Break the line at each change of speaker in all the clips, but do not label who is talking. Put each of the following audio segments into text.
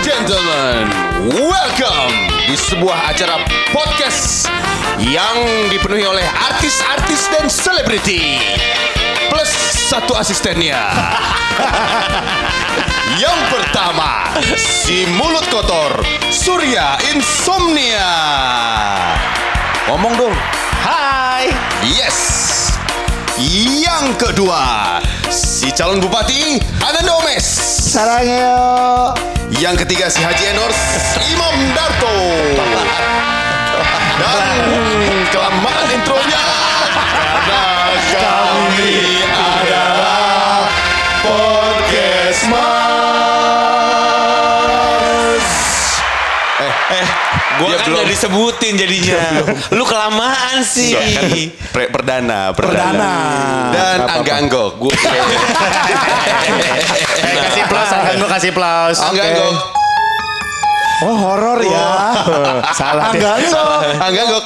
gentlemen, welcome di sebuah acara podcast yang dipenuhi oleh artis-artis dan selebriti plus satu asistennya. yang pertama, si mulut kotor Surya Insomnia. Ngomong dong.
Hai.
Yes. Yang kedua, si calon bupati Anan Domes.
Sarang yo.
Yang ketiga si Haji Endors Imam Darto. Dan kelamaan intronya karena kami adalah podcast mas. Eh, eh,
Gua
dia
kan
belum.
udah disebutin jadinya. Lu kelamaan sih.
Kan
Iya.
pre- perdana, perdana,
Perdana.
dan agak anggok. Gue
Eh, kasih plus, Sarhan gua kasih plus.
Angga anggok,
Oh horor ya.
Oh, Salah.
Angga lo
Angga anggok.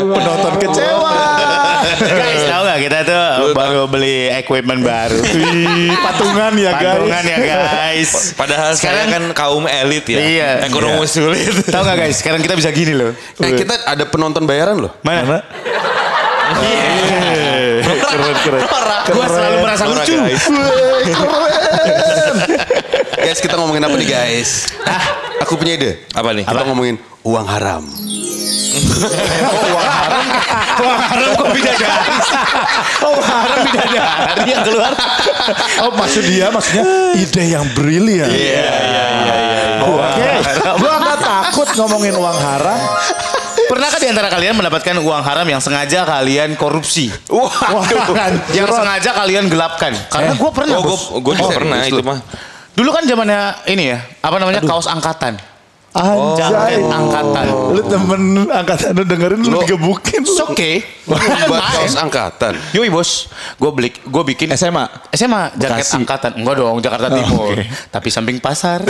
penonton kecewa.
Guys, tahu nggak kita tuh baru beli equipment baru.
Ih, patungan ya guys.
Patungan ya guys.
Padahal sekarang kan
Sekarang-
kaum elit ya.
Iya.
Ekonomi
Iya.
sulit.
Tahu nggak guys, sekarang kita bisa gini loh.
Eh, kita ada penonton bayaran loh.
Mana? Iya.
Keren keren.
Gua selalu merasa lucu.
Guys, kita ngomongin apa nih guys? Ah, aku punya ide.
Apa nih?
Kita ngomongin uang haram.
Wah, haram kok bidadari.
Oh haram
Bidadari yang keluar.
Oh maksud dia maksudnya ide yang brilian. Iya iya iya. Oke. Gua nggak takut ngomongin uang haram.
Pernahkah di antara kalian mendapatkan uang haram yang sengaja kalian korupsi?
Wah,
Yang sengaja kalian gelapkan? Karena gua pernah.
Oh, gue
Bos.
gue pernah itu mah.
Dulu kan zamannya ini ya, apa namanya? Kaos angkatan.
Anjay.
Jaket angkatan.
Lu temen angkatan lu dengerin lu digebukin.
It's okay.
Buat kaos angkatan.
Yoi bos, gue beli, gue bikin
SMA.
SMA jaket
Bekasi.
angkatan, enggak dong Jakarta Timur,
oke.
tapi samping pasar.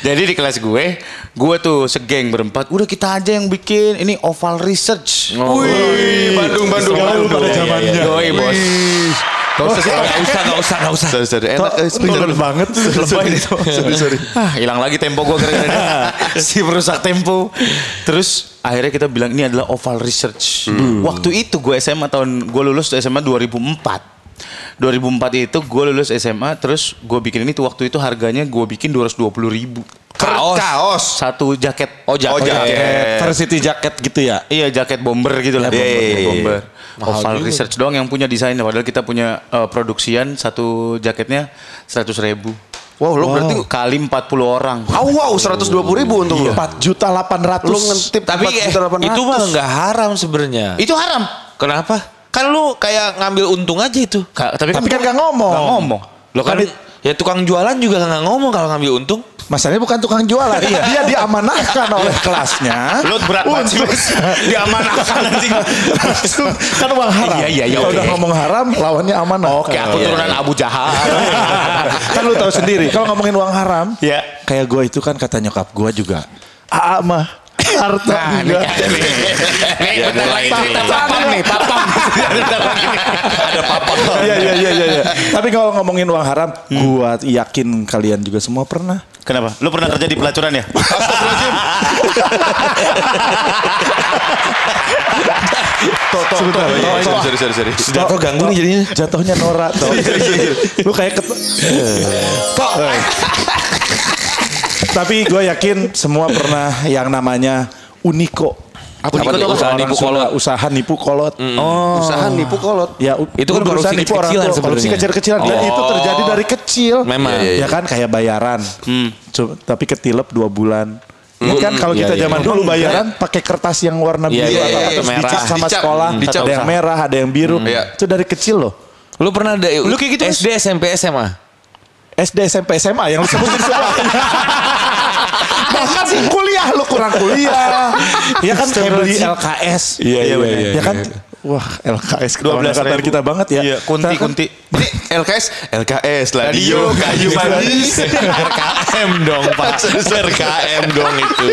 Jadi di kelas gue, gue tuh segeng berempat, udah kita aja yang bikin ini oval research.
Wih, Bandung, Bandung,
Gaul pada zamannya.
Yoi bos, Gak usah sih,
Gak usah, gak usah, gak usah.
Sorry, sorry. Enak. eh, sorry,
Bener
sorry.
banget.
Sorry,
Lebay itu.
sorry, sorry.
Ah, hilang lagi tempo gue gara-gara dia. si perusak tempo. Terus akhirnya kita bilang ini adalah oval research.
Hmm.
Waktu itu gue SMA tahun gue lulus SMA 2004. 2004 itu gue lulus SMA terus gue bikin ini tuh waktu itu harganya gue bikin 220 ribu.
Kaos.
Kaos.
Satu jaket.
Oh, jaket.
Oh, jaket.
Varsity jacket gitu ya.
Iya jaket bomber gitu lah.
Iya, iya, iya.
Bomber. Oval research doang yang punya desainnya. Padahal kita punya eh, produksian satu jaketnya 100 ribu.
Wow, lo berarti...
Kali 40 orang.
Oh, wow, 120 ribu untuk
Iya.
lo.
4 juta 800.
Lo ngentip
Tapi eh,
4.800.
itu mah nggak haram sebenarnya.
Itu haram.
Kenapa? Kan lu kayak ngambil untung aja itu.
Ka- tapi,
Tapi kan nggak ngomong.
Nggak ngomong.
Lo kan
Kan di-
ya tukang jualan juga nggak ngomong kalau ngambil untung.
Masalahnya bukan tukang jualan, dia diamanahkan oleh kelasnya.
Lo berat banget sih, Bos. Diamanahkan anjing.
kan uang haram.
Iya, iya, iya,
Kalau udah
oke.
ngomong haram, lawannya amanah.
Oke, aku
Iya.
turunan Abu Jahal.
kan lu tahu sendiri. Ya. Kalau ngomongin uang haram,
Iya.
kayak gue itu kan kata nyokap gue juga. Aa mah harta enggak.
Iya, Nih,
Iya,
bentar lagi cerita
Papam
papam nih, papam. Bentar lagi nih. Ada papam.
Iya iya iya iya. iya. Tapi kalau ngomongin uang haram, gua yakin kalian juga semua pernah.
Kenapa? Lo pernah kerja di pelacuran ya?
Sebentar, toh,
iya.
toh.
Sorry, sorry, sorry.
Sudah kok ganggu nih jadinya.
Jatuhnya Nora toh. Lu kayak ket... Kok? Tapi gue yakin semua pernah yang namanya Uniko.
Apa Uniko tuh apa? Usaha nipu
Sunda,
kolot. Hmm.
Usaha nipu kolot. Oh.
Usaha nipu kolot.
Ya, u-
Itu kan
berusaha
korupsi
nipu orang
kecil-kecilan
tua, Korupsi
sebenarnya.
kecil-kecilan. Dan itu terjadi dari kecil.
Memang.
Ya,
Iya, iya,
Ya kan kayak bayaran. Cu- tapi ketilep dua bulan. Ya kan kalau kita zaman dulu bayaran pakai kertas yang warna biru
Iya, iya,
atau
iya,
atas
merah.
dicap sama
Dicap.
sekolah.
Hmm. Dicap.
Ada yang merah, ada yang biru.
Iya.
Itu dari kecil loh.
Lu pernah ada
Lu kayak gitu, Mas.
SD, SMP, SMA?
SD, SMP, SMA yang lu sebutin semua. Bahkan kuliah lu kurang kuliah. ya kan kayak beli LKS.
Iya, iya,
Ya
iya,
kan Wah, LKS
12
kebanyakan
ribu.
kita banget ya.
Iya, kunti,
Kita kan-
kunti. Ini LKS, LKS, radio, kayu manis.
RKM dong pak RKM dong itu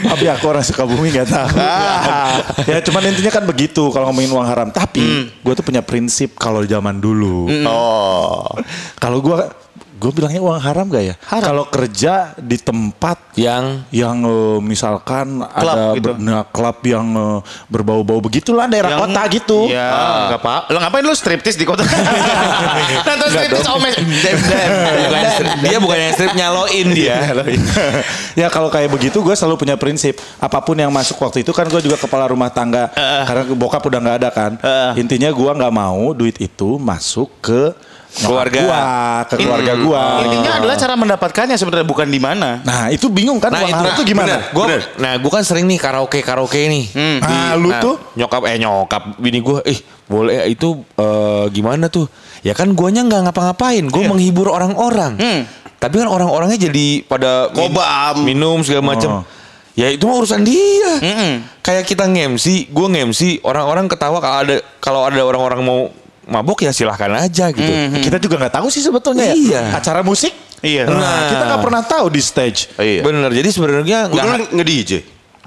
Tapi aku orang Sukabumi gak tahu. ya cuman intinya kan begitu kalau ngomongin uang haram. Tapi gue tuh punya prinsip kalau zaman dulu.
Oh
Kalau gue, gue bilangnya uang haram gak ya? Kalau kerja di tempat
Yang
yang eh, misalkan ada
gitu.
ber- nah, klub yang eh, berbau-bau begitulah daerah kota gitu.
Iya,
Ah,
enggak
Ah,
apa. Lo ngapain lo striptis di kota? Nonton striptis omes. Dem, dem.
Bukan strip. dia bukan yang strip nyaloin
Iya,
dia.
Iya. ya kalau kayak begitu gue selalu punya prinsip apapun yang masuk waktu itu kan gue juga kepala rumah tangga karena bokap udah nggak ada kan intinya gue nggak mau duit itu masuk ke nyokap
Keluarga. Hmm. Oh, gitu.
gua, ke keluarga gue
Intinya adalah cara mendapatkannya sebenarnya bukan di mana.
nah itu bingung kan
Nah,
uang
itu
haram tuh gimana
Bener, gua, nah, gua kan sering nih karaoke karaoke nih. Di-
Ah, lu
nah,
tuh?
nyokap eh nyokap bini gua, eh boleh eh, itu eh, gimana tuh? Ya kan guanya nggak ngapa-ngapain, gua
Iya.
menghibur orang-orang.
Hmm.
Tapi kan orang-orangnya jadi pada min-
Kobam.
minum segala macam.
Oh.
Ya itu mah urusan dia. Kayak kita ngemsi, gua ngemsi, orang-orang ketawa kalau ada kalau ada orang-orang mau mabok ya silahkan aja gitu.
kita juga nggak tahu sih sebetulnya ya.
Iya.
acara musik
Iya.
Nah,
Nah.
kita nggak pernah tahu di stage
Iya
Bener, jadi sebenarnya
Gue dulu
nggak
nge-DJ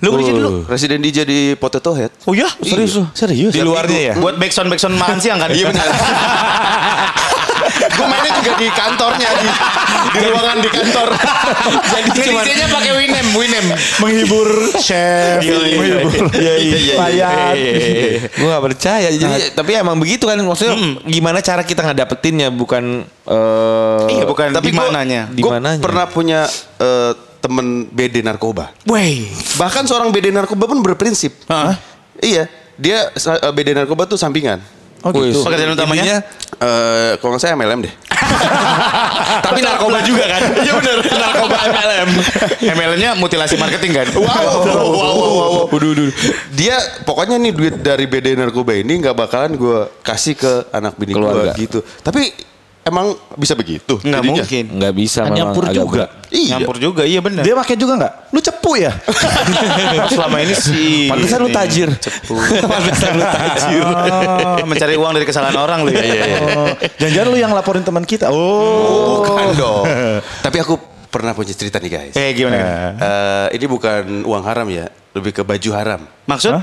Lu kerja dulu.
Presiden DJ di Potato Head
Oh ya,
serius lu?
"Iya." serius
Di luarnya ya?
Buat backsound backsound makan siang kan?
Iya benar. Gue mainnya juga di kantornya di, di ruangan di kantor.
Jadi cuma pakai Winem, Winem.
menghibur chef menghibur
Iya,
pelayan
gue gak percaya jadi tapi emang begitu kan maksudnya gimana cara kita ngedapetinnya bukan eh
Iya, bukan
Tapi
di mananya.
Di
Gue
mananya?
pernah punya eh, temen BD narkoba.
Wey.
Bahkan seorang BD narkoba pun berprinsip. Iya, dia sa- eh, BD narkoba tuh sampingan.
oh gitu
Wih,
Pekerjaan utamanya?
intinya,
Eh, kalau nggak saya MLM deh.
tapi narkoba juga kan
Ah, Iya benar. Narkoba MLM. MLM-nya mutilasi marketing kan?
Wow, wow, wow, wow, wow. Dia pokoknya nih duit dari BD narkoba ini nggak bakalan gue kasih ke anak bini gue
Keluarga.
gitu. Tapi emang bisa begitu?
Enggak
jadinya?
mungkin.
nggak bisa
Kan
memang
nyampur
agak
juga.
berat.
Iya.
Nyampur juga, iya benar.
dia pakai juga nggak lu cepu ya
Nah, selama ini sih.
pantesan lu tajir Ah. pantesan lu tajir
Oh, mencari uang dari kesalahan orang lu ya.
Oh, jangan-jangan lu yang laporin teman kita. Oh.
Bukan dong. Tapi aku pernah punya cerita nih guys.
Eh gimana? kan?
Eh, ini bukan uang haram ya, lebih ke baju haram.
Maksud?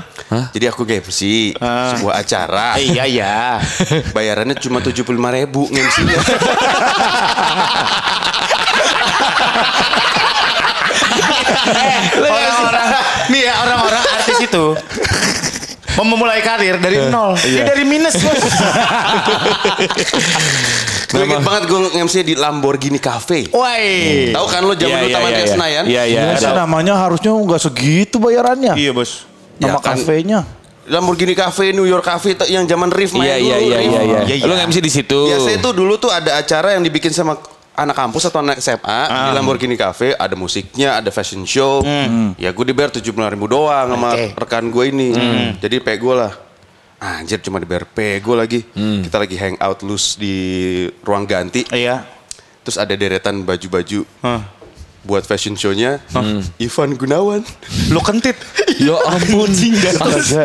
Jadi aku MC
Ah.
sebuah acara.
Eh, Iya iya.
Bayarannya cuma 75 ribu ngemsinya.
Orang-orang nih ya orang-orang artis itu mem- memulai karir dari nol. Dia dari minus bos.
Gue inget banget gue ngemsi di Lamborghini Cafe.
Woi.
Tahu kan lo zaman
Iya,
utama
iya,
di
iya.
Senayan?
iya iya
Ya,
ada.
namanya harusnya nggak segitu bayarannya.
Iya bos.
Ya,
Nama
kan.
kafenya.
Lamborghini Cafe, New York Cafe t- yang zaman Riff main
iya
dulu.
iya iya
Riff.
iya iya
Iya,
lu
iya.
nggak mesti di situ
Biasanya tuh dulu tuh ada acara yang dibikin sama anak kampus atau anak SMA di Lamborghini Cafe ada musiknya ada fashion show ya gue dibayar tujuh ribu doang sama
Oke.
rekan gue ini jadi pego lah anjir cuma dibayar pego lagi
Hmm.
kita lagi hangout loose di ruang ganti
Iya.
terus ada deretan baju-baju
Hah.
buat fashion show-nya
Hmm.
Ivan Gunawan
Lu kentit.
ya ampun
Astaga.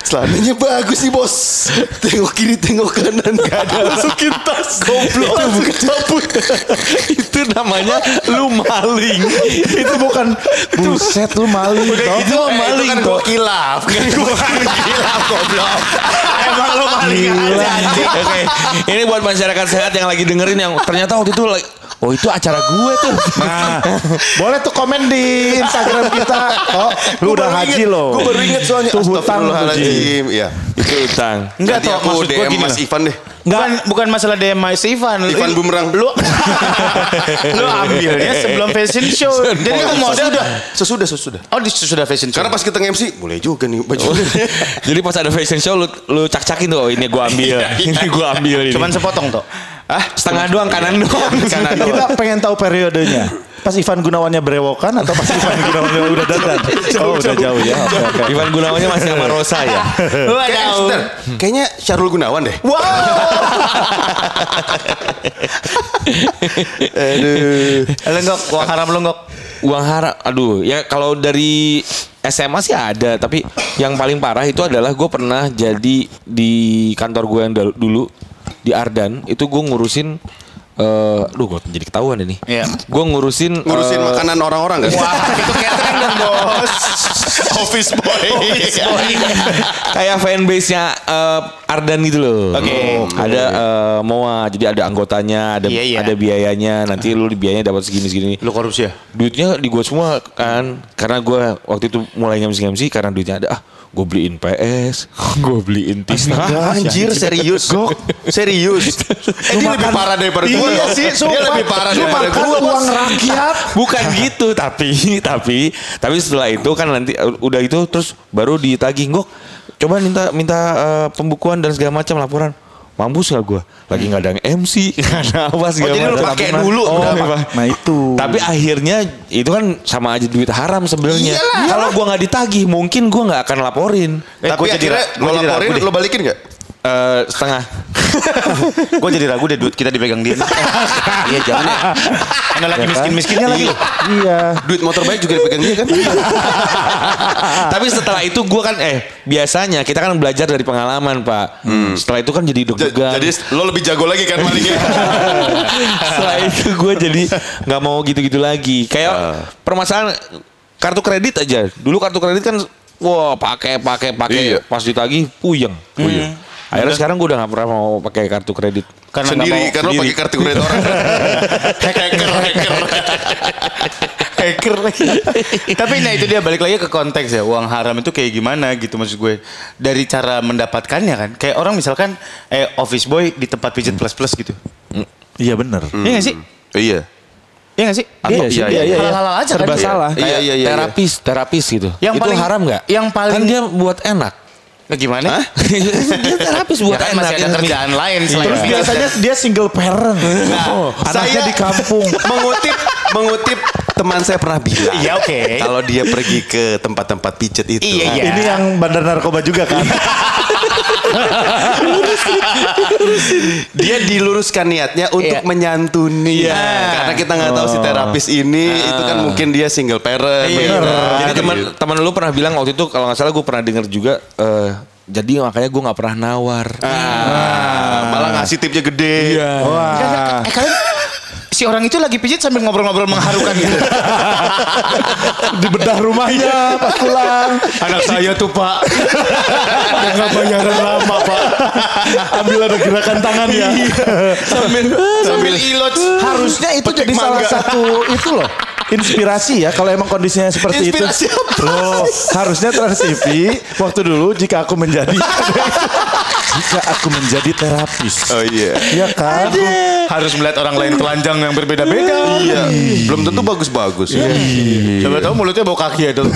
Celananya bagus nih bos Tengok kiri tengok kanan Gak ada Masukin tas Goblok Masukin cabut
itu namanya lu maling
itu bukan buset lu maling dong.
gitu,
Itu eh, maling kan gue kilap Kan gue kilap goblok
Emang lu kan? maling aja anjing.
Oke, ini buat masyarakat sehat yang lagi dengerin yang ternyata waktu itu like, oh itu acara gue tuh.
Nah, boleh tuh komen di Instagram kita. Oh, lu udah haji loh.
Gue baru inget soalnya
Tuh hutang lu Ji.
Astagfirullahaladzim Iya
itu utang.
Enggak
Nanti
toh
aku
maksud gua
DM
gini
Mas
loh.
Ivan deh
Bukan, bukan masalah DM Mas Ivan. Lu-
Ivan Bumerang
Lu, lu ambilnya sebelum fashion show. Jadi aku mau
Sesudah Sesudah Sesudah
Oh, di- sudah fashion show.
Karena pas kita nge-MC Boleh juga nih baju
Jadi pas ada fashion show lu, lu cak-cakin tuh, oh, ini gue ambil,
Iya,
ini gue ambil ini.
cuman sepotong toh.
setengah doang kanan doang.
ah, iya, Kanan doang.
Kita pengen tahu periodenya. pas Ivan Gunawannya berewokan atau pas Ivan Gunawannya udah datang? Oh udah jauh ya. Oke oke.
Ivan Gunawannya masih sama Rosa ya.
Kayaknya,
Waduh.
sebentar, kayaknya Syarul Gunawan deh.
Wow.
Aduh.
Lenggok, uang haram lenggok.
Uang haram, aduh ya kalau dari SMA sih ada, tapi yang paling parah itu adalah gue pernah jadi di kantor gue yang dal- dulu di Ardan itu gue ngurusin, eh aduh gue jadi ketahuan ini,
Iya.
gue ngurusin
Ngurusin
eh,
makanan orang-orang gak?
Wah, itu catering dong, Bos.
Office boy.
kayak fanbase-nya eh, Ardan gitu loh.
Oke.
Ada eh, Moa, jadi ada anggotanya, ada
Iya, iya.
ada biayanya. Nanti lu di biayanya dapat segini segini.
Lu korupsi ya?
Duitnya di gua semua kan karena gua waktu itu mulai ngemsi ngemsi karena duitnya ada ah gue beliin PS, gue beliin Tisna.
Anjir serius Gok Serius Eh dia lebih parah daripada gue
Iya sih,
Dia
sumpah.
lebih parah
Lu
daripada
makan
gue
uang rakyat.
Bukan gitu, tapi tapi tapi setelah itu kan nanti eh, udah itu terus baru ditagih gok. Coba minta minta eh, pembukuan dan segala macam laporan. Mampus gak gua? Lagi nggak ada yang MC, nggak ada apa segala
Oh, jadi lu
macam.
pakai
Tabungan.
dulu,
Oh,
udah Eh,
iya, Pak.
Nah itu.
Tapi akhirnya itu kan sama aja duit haram sebenarnya.
Iyalah.
Kalau gua nggak ditagih, mungkin gua nggak akan laporin.
Eh,
Tapi
gua jadi
akhirnya
ra-
lo
gua jadi
laporin
ragu deh.
Lo balikin gak?
Eh, setengah.
Gue jadi ragu deh duit kita dipegang dia. Iya jangan ya. Karena lagi miskin-miskinnya lagi.
Iya.
Duit motor baik juga dipegang dia kan
Iya.
Tapi setelah itu gua kan eh biasanya kita kan belajar dari pengalaman pak. Setelah itu kan jadi
Hmm. Ja-
deg-degan.
Jadi lo lebih jago lagi kan malingnya
setelah itu gue jadi nggak mau gitu-gitu lagi kayak
Ah.
permasalahan kartu kredit aja dulu kartu kredit kan wah pakai pakai pakai
Iya.
pas ditagih puyeng puyeng akhirnya sekarang gue udah nggak pernah mau pakai kartu kredit
Karena nggak
Sendiri
mau
kan lo pakai kartu kredit orang Hacker Hacker
hacker lagi. Tapi nah itu dia balik lagi ke konteks ya. Uang haram itu kayak gimana gitu maksud gue. Dari cara mendapatkannya kan. Kayak orang misalkan eh office boy di tempat pijat
Hmm.
plus-plus gitu.
Iya benar.
Iya gak sih?
Iya
Iya gak sih?
Iya,
sih,
iya,
iya, iya.
Halal-halal aja
Serba
kan.
salah.
Iya, iya, iya, iya.
terapis terapis gitu
Yang
itu
paling-
haram nggak
yang paling-
kan dia buat enak
Nah, gimana?
dia terapis
Ya
buat
kan
enak
masih ada
ini.
kerjaan lain selain
Terus
pijat.
biasanya dia single parent. Oh,
saya-
anaknya di kampung.
Mengutip Mengutip teman saya pernah bilang
Iya, oke.
Kalau dia pergi ke tempat-tempat pijet itu
Iya, iya.
Ini yang bandar narkoba juga kan.
dia diluruskan niatnya untuk
Iya.
menyantuni karena kita nggak tahu si terapis ini
Ah.
itu kan mungkin dia single parent
Iya.
Bener. Jadi
jadi
teman
gitu.
teman lu pernah bilang waktu itu kalau nggak salah gue pernah dengar juga eh, jadi makanya gue nggak pernah nawar
ah,
Ah.
malah ngasih tipnya gede
Iya.
Wah.
Eh kalian si orang itu lagi pijit sambil ngobrol-ngobrol mengharukan gitu.
Di bedah rumahnya pas pulang.
Anak saya tuh pak.
Nggak bayaran lama pak. Ambil ada gerakan tangannya.
sambil sambil ilot
Harusnya itu
Petik
jadi salah
mangga.
satu itu loh. Oh, Inspirasi ya kalau emang kondisinya seperti
Inspirasi
itu.
apa?
Loh, harusnya Trans TV waktu dulu jika aku menjadi jika aku menjadi terapis.
oh iya
Ya kan?
Harus melihat orang lain telanjang yang berbeda-beda.
iya belum tentu bagus-bagus
Coba tahu mulutnya bau kaki ya dulu.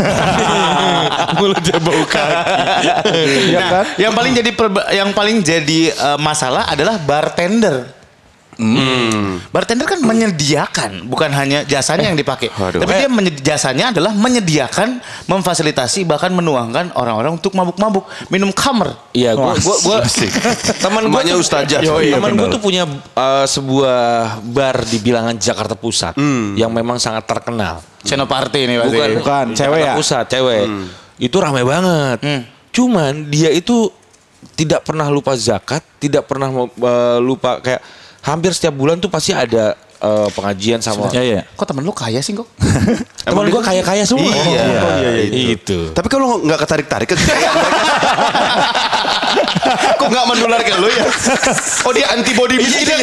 mulutnya bau kaki.
Iya
nah,
kan?
yang paling jadi perba- yang paling jadi eh, masalah adalah bartender. Bartender kan menyediakan, bukan hanya jasanya yang dipakai,
Waduh.
tapi dia menye- jasanya adalah menyediakan, memfasilitasi bahkan menuangkan orang-orang untuk mabuk-mabuk, minum kamar.
Iya, gue
Wah,
gua gua teman gue
Emaknya ustazah.
Oh,
Yo,
Iya,
teman gue
benar.
tuh punya uh, sebuah bar di bilangan Jakarta Pusat
Hmm.
yang memang sangat terkenal.
Senopati ini pasti.
Bukan
Bukan,
Oh,
cewek
iya.
Jakarta
ya?
Pusat, cewek.
Hmm.
Itu ramai banget. Cuman dia itu tidak pernah lupa zakat, tidak pernah uh, lupa kayak hampir setiap bulan tuh pasti ada uh, pengajian sama
Ya ya.
Kok temen lu kaya sih kok?
teman gue kaya-kaya semua.
Iya,
Oh,
iya,
Itu.
tapi kalau nggak ketarik tarik ke kok nggak menular ke lo ya oh dia antibody miskin ya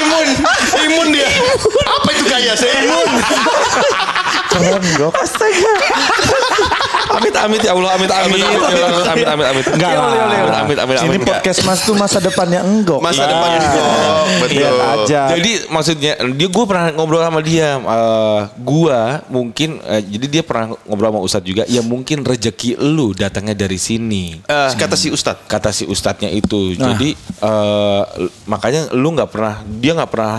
imun imun dia apa itu kaya saya imun
Keren dok.
Amit amit ya Allah, amit amit. Ya Allah, Amit amit amit. Iya,
Enggak lah.
Amit amit amit. amit,
Ini
Enggak.
podcast mas tuh masa depannya enggok.
Masa
Nah,
depannya enggok, betul.
lihat aja.
Jadi maksudnya dia gue pernah ngobrol sama dia, eh, gua mungkin eh, jadi dia pernah ngobrol sama Ustadz juga. Ya mungkin rezeki lu datangnya dari sini.
Eh. Kata si Ustadz.
kata si ustadznya itu. Jadi eh, makanya lu nggak pernah dia nggak pernah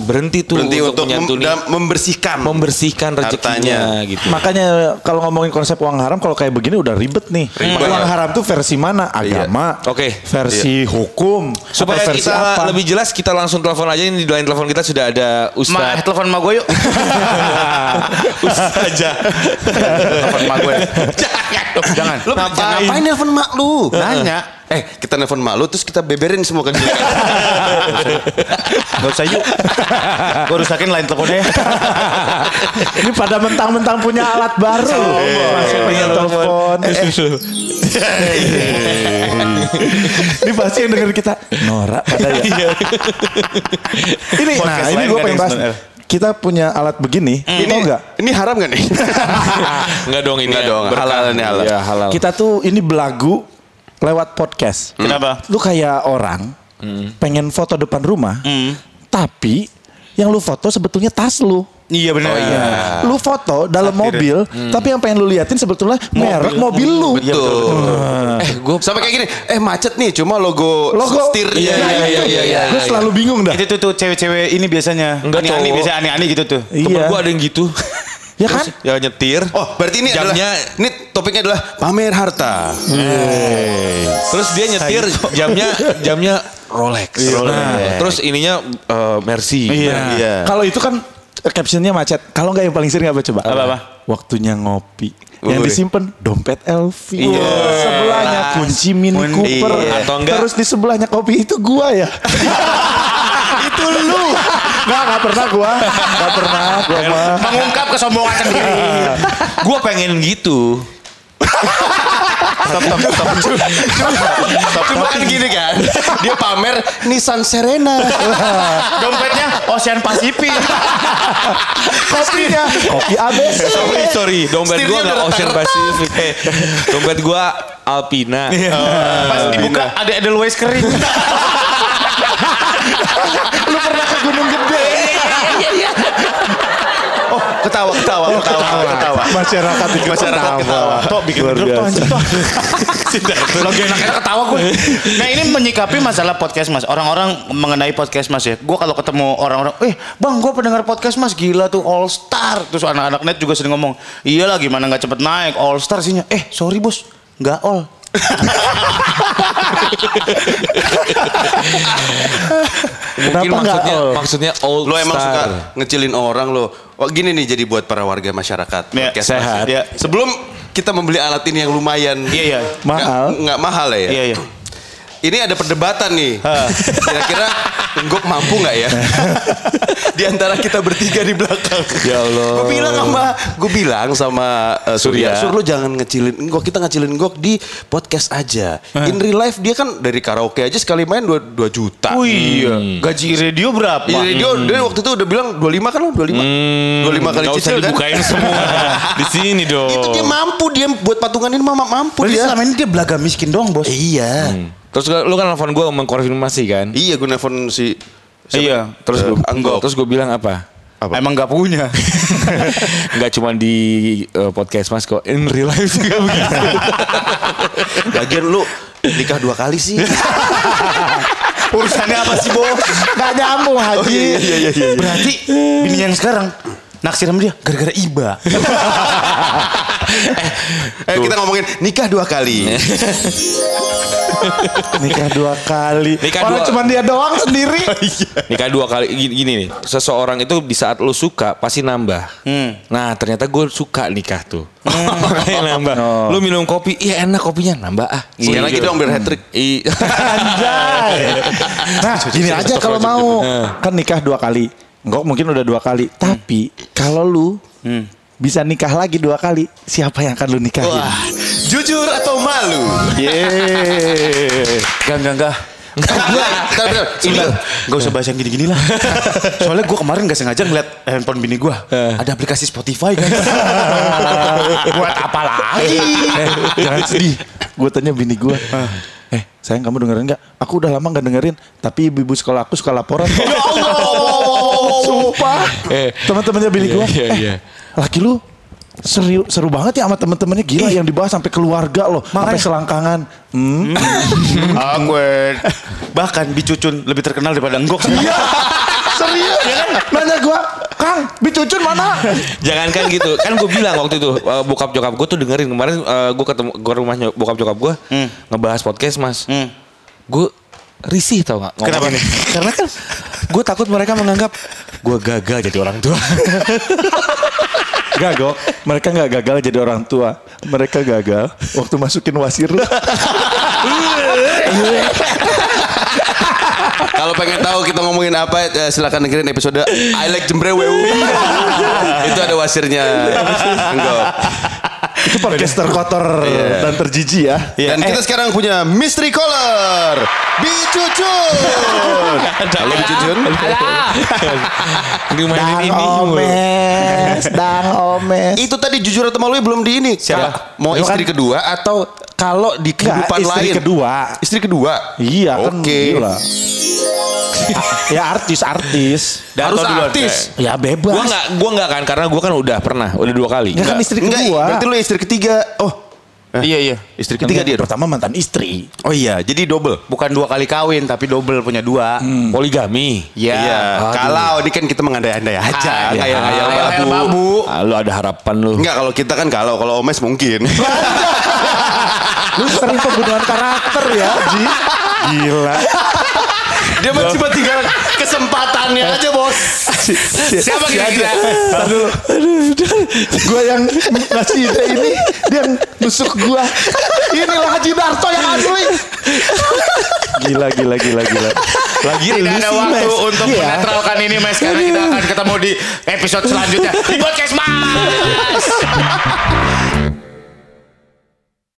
berhenti tuh
Berhenti untuk, mem-
menyantuni,
dan membersihkan.
membersihkan rezekinya gitu.
Makanya kalau ngomongin konsep uang haram kalau kayak begini udah ribet nih.
Ribet.
Uang haram tuh versi mana? Agama.
Oke.
Versi hukum.
Supaya
atau
kita
versi apa?
lebih jelas kita langsung telepon aja ini di line telepon kita sudah ada
Ma,
Ustadz.
telepon sama gue yuk.
Ustadz aja.
telepon sama gue. Jangan.
Eh. Lu ngapain? ngapain nelfon mak lu? Nanya. Eh, kita nelfon mak lu terus kita beberin semua ke dia.
Gak usah yuk. gue rusakin lain teleponnya. ya.
Ini pada mentang-mentang punya alat baru. Masih punya telepon. Ini pasti yang denger kita Nora pada ya. ini nah
Podcast
ini
lain
gue
gak
pengen
ada yang
bahas.
sebenarnya.
Kita punya alat begini, ini enggak?
ini haram gak nih?
Ah, Enggak dong ini.
Nggak dong,
berkah.
halal ini halal.
Ya, halal.
Kita tuh ini belagu lewat podcast.
Kenapa?
Lu kayak orang
Hmm.
pengen foto depan rumah, tapi yang lu foto sebetulnya tas lu.
Iya benar. iya.
Ya.
Lu foto dalam mobil,
Hmm.
tapi yang pengen lu liatin sebetulnya merek mobil lu.
Iya, eh, gue sampai kayak gini. Eh, macet nih, cuma logo,
Logo
setirnya.
iya, iya, iya,
Gue
iya.
selalu bingung dah.
Itu tuh, tuh cewek-cewek ini biasanya.
Enggak,
aneh-aneh
cowok.
biasanya aneh-aneh gitu tuh.
Temen
Iya.
gua ada yang gitu.
Ya kan?
ya nyetir.
Oh, berarti ini
Jamnya-
adalah ini topiknya adalah pamer harta.
Terus dia nyetir jamnya jamnya Rolex. Nah, Terus ininya eh, Mercy.
Nah,
Oh, Iya.
Kalau itu kan eh, captionnya macet. Kalau nggak yang paling sering apa coba?
Apa-apa?
Waktunya ngopi. Yang
Wih.
disimpan dompet LV.
Iya.
Wah, Sebelahnya kunci Mini
Mun-
Cooper.
iya. Atau enggak-
Terus di sebelahnya kopi itu gua ya. itu lu. Nggak, nggak pernah gua. Nggak pernah gua mah.
Mengungkap kesombongan sendiri.
Gua pengen gitu.
Stop, stop, stop. Cuma kan gini kan. Dia pamer Nissan Serena.
Dompetnya oh, Ocean Pacific.
Kopinya kopi ABC.
Sorry, Eh, sorry. Dompet
Setirnya
gua nggak
udah
Ocean Pacific. Eh, dompet gua Alpina.
Iya.
Pas dibuka ada Edelweiss kering.
Lu pernah ke Gunung Gede.
Oh, ketawa, ketawa, ketawa, ketawa.
Masyarakat itu
Masyarakat ketawa.
Tok bikin
Luar
grup tuh
biasa.
anjing tok. Lagi enak-enak ketawa gue. Nah ini menyikapi masalah podcast mas. Orang-orang mengenai podcast mas ya. Gue kalau ketemu orang-orang, eh bang gue pendengar podcast mas gila tuh all star. Terus anak-anak net juga sering ngomong, iyalah gimana nggak cepet naik all star sihnya. Eh sorry bos, nggak all.
Mungkin
Kenapa nggak
maksudnya
Oh, all?
Oh. maksudnya all
Lo emang
star.
suka ngecilin orang lo. Wah gini nih jadi buat para warga masyarakat.
Iya,
Podcast
sehat.
Mas.
Iya.
Sebelum kita membeli alat ini yang lumayan.
Iya, iya.
nggak-
Mahal.
Nggak mahal ya.
Iya, iya.
Ini ada perdebatan nih. Kira-kira Enggok mampu nggak ya? di antara kita bertiga di belakang.
Ya Allah.
Gue bilang sama, gue bilang sama eh, Surya,
Surya.
Sur lo jangan ngecilin Enggok, kita ngecilin Enggok di podcast aja. In real life dia kan dari karaoke aja sekali main 2, juta.
Wih, iya.
Hmm.
gaji radio berapa?
Iya, dia, dia waktu itu udah bilang 25 kan lo 25. 25 kali
Nggak usah
cicil kan.
dibukain semua. Di sini dong.
Itu dia mampu dia buat patungan ini mama mampu
Berarti
dia.
Iya.
selama ini dia belaga miskin dong bos.
Iya.
Terus lu kan telepon gua mengkonfirmasi kan?
Iya gue nelfon si Eh,
Iya.
Terus gua,
Anggok.
terus gua bilang apa?
Emang nggak punya.
Enggak cuma di eh, podcast Mas kok in real life juga begitu.
Lagian lu nikah dua kali sih.
Urusannya apa sih bos?
Gak
Oh,
nyambung Haji.
iya,
iya,
Berarti bininya yang sekarang naksir sama dia gara-gara iba.
eh, kita ngomongin nikah dua kali.
Eh.
Nikah dua kali.
Nikah
Orang
dua-
cuma dia doang sendiri.
Nikah dua kali gini, gini nih. Seseorang itu di saat lu suka pasti nambah.
Hmm.
Nah, ternyata gue suka nikah tuh. Makanya nambah.
Oh.
Lu minum kopi, iya enak kopinya nambah ah.
Iya,
Sekali lagi dong biar hat trick.
I-
Anjay. Nah, gini aja kalau mau kan nikah dua kali. Enggak mungkin udah dua kali. Tapi kalau lu bisa nikah lagi dua kali, siapa yang akan lu nikahin?
Jujur atau malu? Eh.
Gak, gak, gak.
Iya, Bentar, bentar. Ini
Gak usah bahas yang gini-gini lah. Soalnya gue kemarin gak sengaja ngeliat handphone bini gue. Ada aplikasi Spotify kan. Eh. Buat apa lagi?
eh, jangan sedih. Gue tanya bini gue. Eh, sayang kamu dengerin nggak? Aku udah lama nggak dengerin. Tapi ibu-ibu sekolah aku suka laporan. ya
Oh,
Allah, sumpah.
Eh.
Teman-temannya bini gue.
iya,
eh,
iya.
laki lu seru seru banget ya sama teman-temannya gila yang dibahas sampai keluarga loh, sampai selangkangan. Hmm.
Awkward. Bahkan bicucun lebih terkenal daripada enggok.
Iya.
Serius?
kan?
Nanya gue, Kang, bicucun mana?
Jangankan gitu, kan gue bilang waktu itu eh, bokap jokap gue tuh dengerin kemarin gue ketemu gue rumahnya bokap jokap gue ngebahas podcast mas,
Hmm.
gue risih tau gak?
Kenapa nih?
Karena kan gue takut mereka menganggap gue gagal jadi orang tua.
Gagok, mereka nggak gagal jadi orang tua. Mereka gagal waktu masukin wasiru.
Kalau pengen tahu kita ngomongin apa, eh, silakan dengerin episode I Like Jembrewew. Itu ada wasirnya. Enggak.
Itu podcaster kotor
Iya.
dan terjiji ya.
Dan kita sekarang punya mystery caller, Bicucun. Halo Bicucun.
Di rumah ini
omes, dang omes.
Itu tadi jujur atau malu ya, belum di ini. Siapa? Mau
Itu kan-
istri kedua atau kalau di kehidupan
istri
lain?
kedua.
Istri kedua.
Iya kan
Oke.
gila. ya artis, artis.
Harus
atau duluan? eh.
artis.
Ya bebas.
Gue nggak gue nggak kan karena gue kan udah pernah udah dua kali.
Nggak kan istri
Enggak,
kedua.
berarti lu istri ketiga. Oh,
Iya iya.
istri ketiga dia dong.
Pertama mantan istri.
Oh iya, jadi double.
Bukan dua kali kawin tapi double punya dua.
Poligami.
Hmm. Iya.
Iya.
Hmm. Aduh.
Kalau ini kan kita mengandai-andai aja.
Ah, iya.
Kayak kayak
Kayak
babu.
babu.
Ah, lu ada harapan lu.
Enggak, kalau kita kan kalau kalau Omes mungkin.
Lu sering pembunuhan karakter ya, Ji. Gila.
Dia mah cuma tinggal kesempatannya aja, Bos.
Siapa kira-kira?
Gue yang ngasih ide ini, dia yang nusuk gua. Inilah Haji Darto yang asli. Gila, gila, gila, gila. Lagi
Tidak
lu
ada
sih,
waktu
Mas.
untuk
Iya.
menetralkan ini Mas karena kita akan ketemu di episode selanjutnya di podcast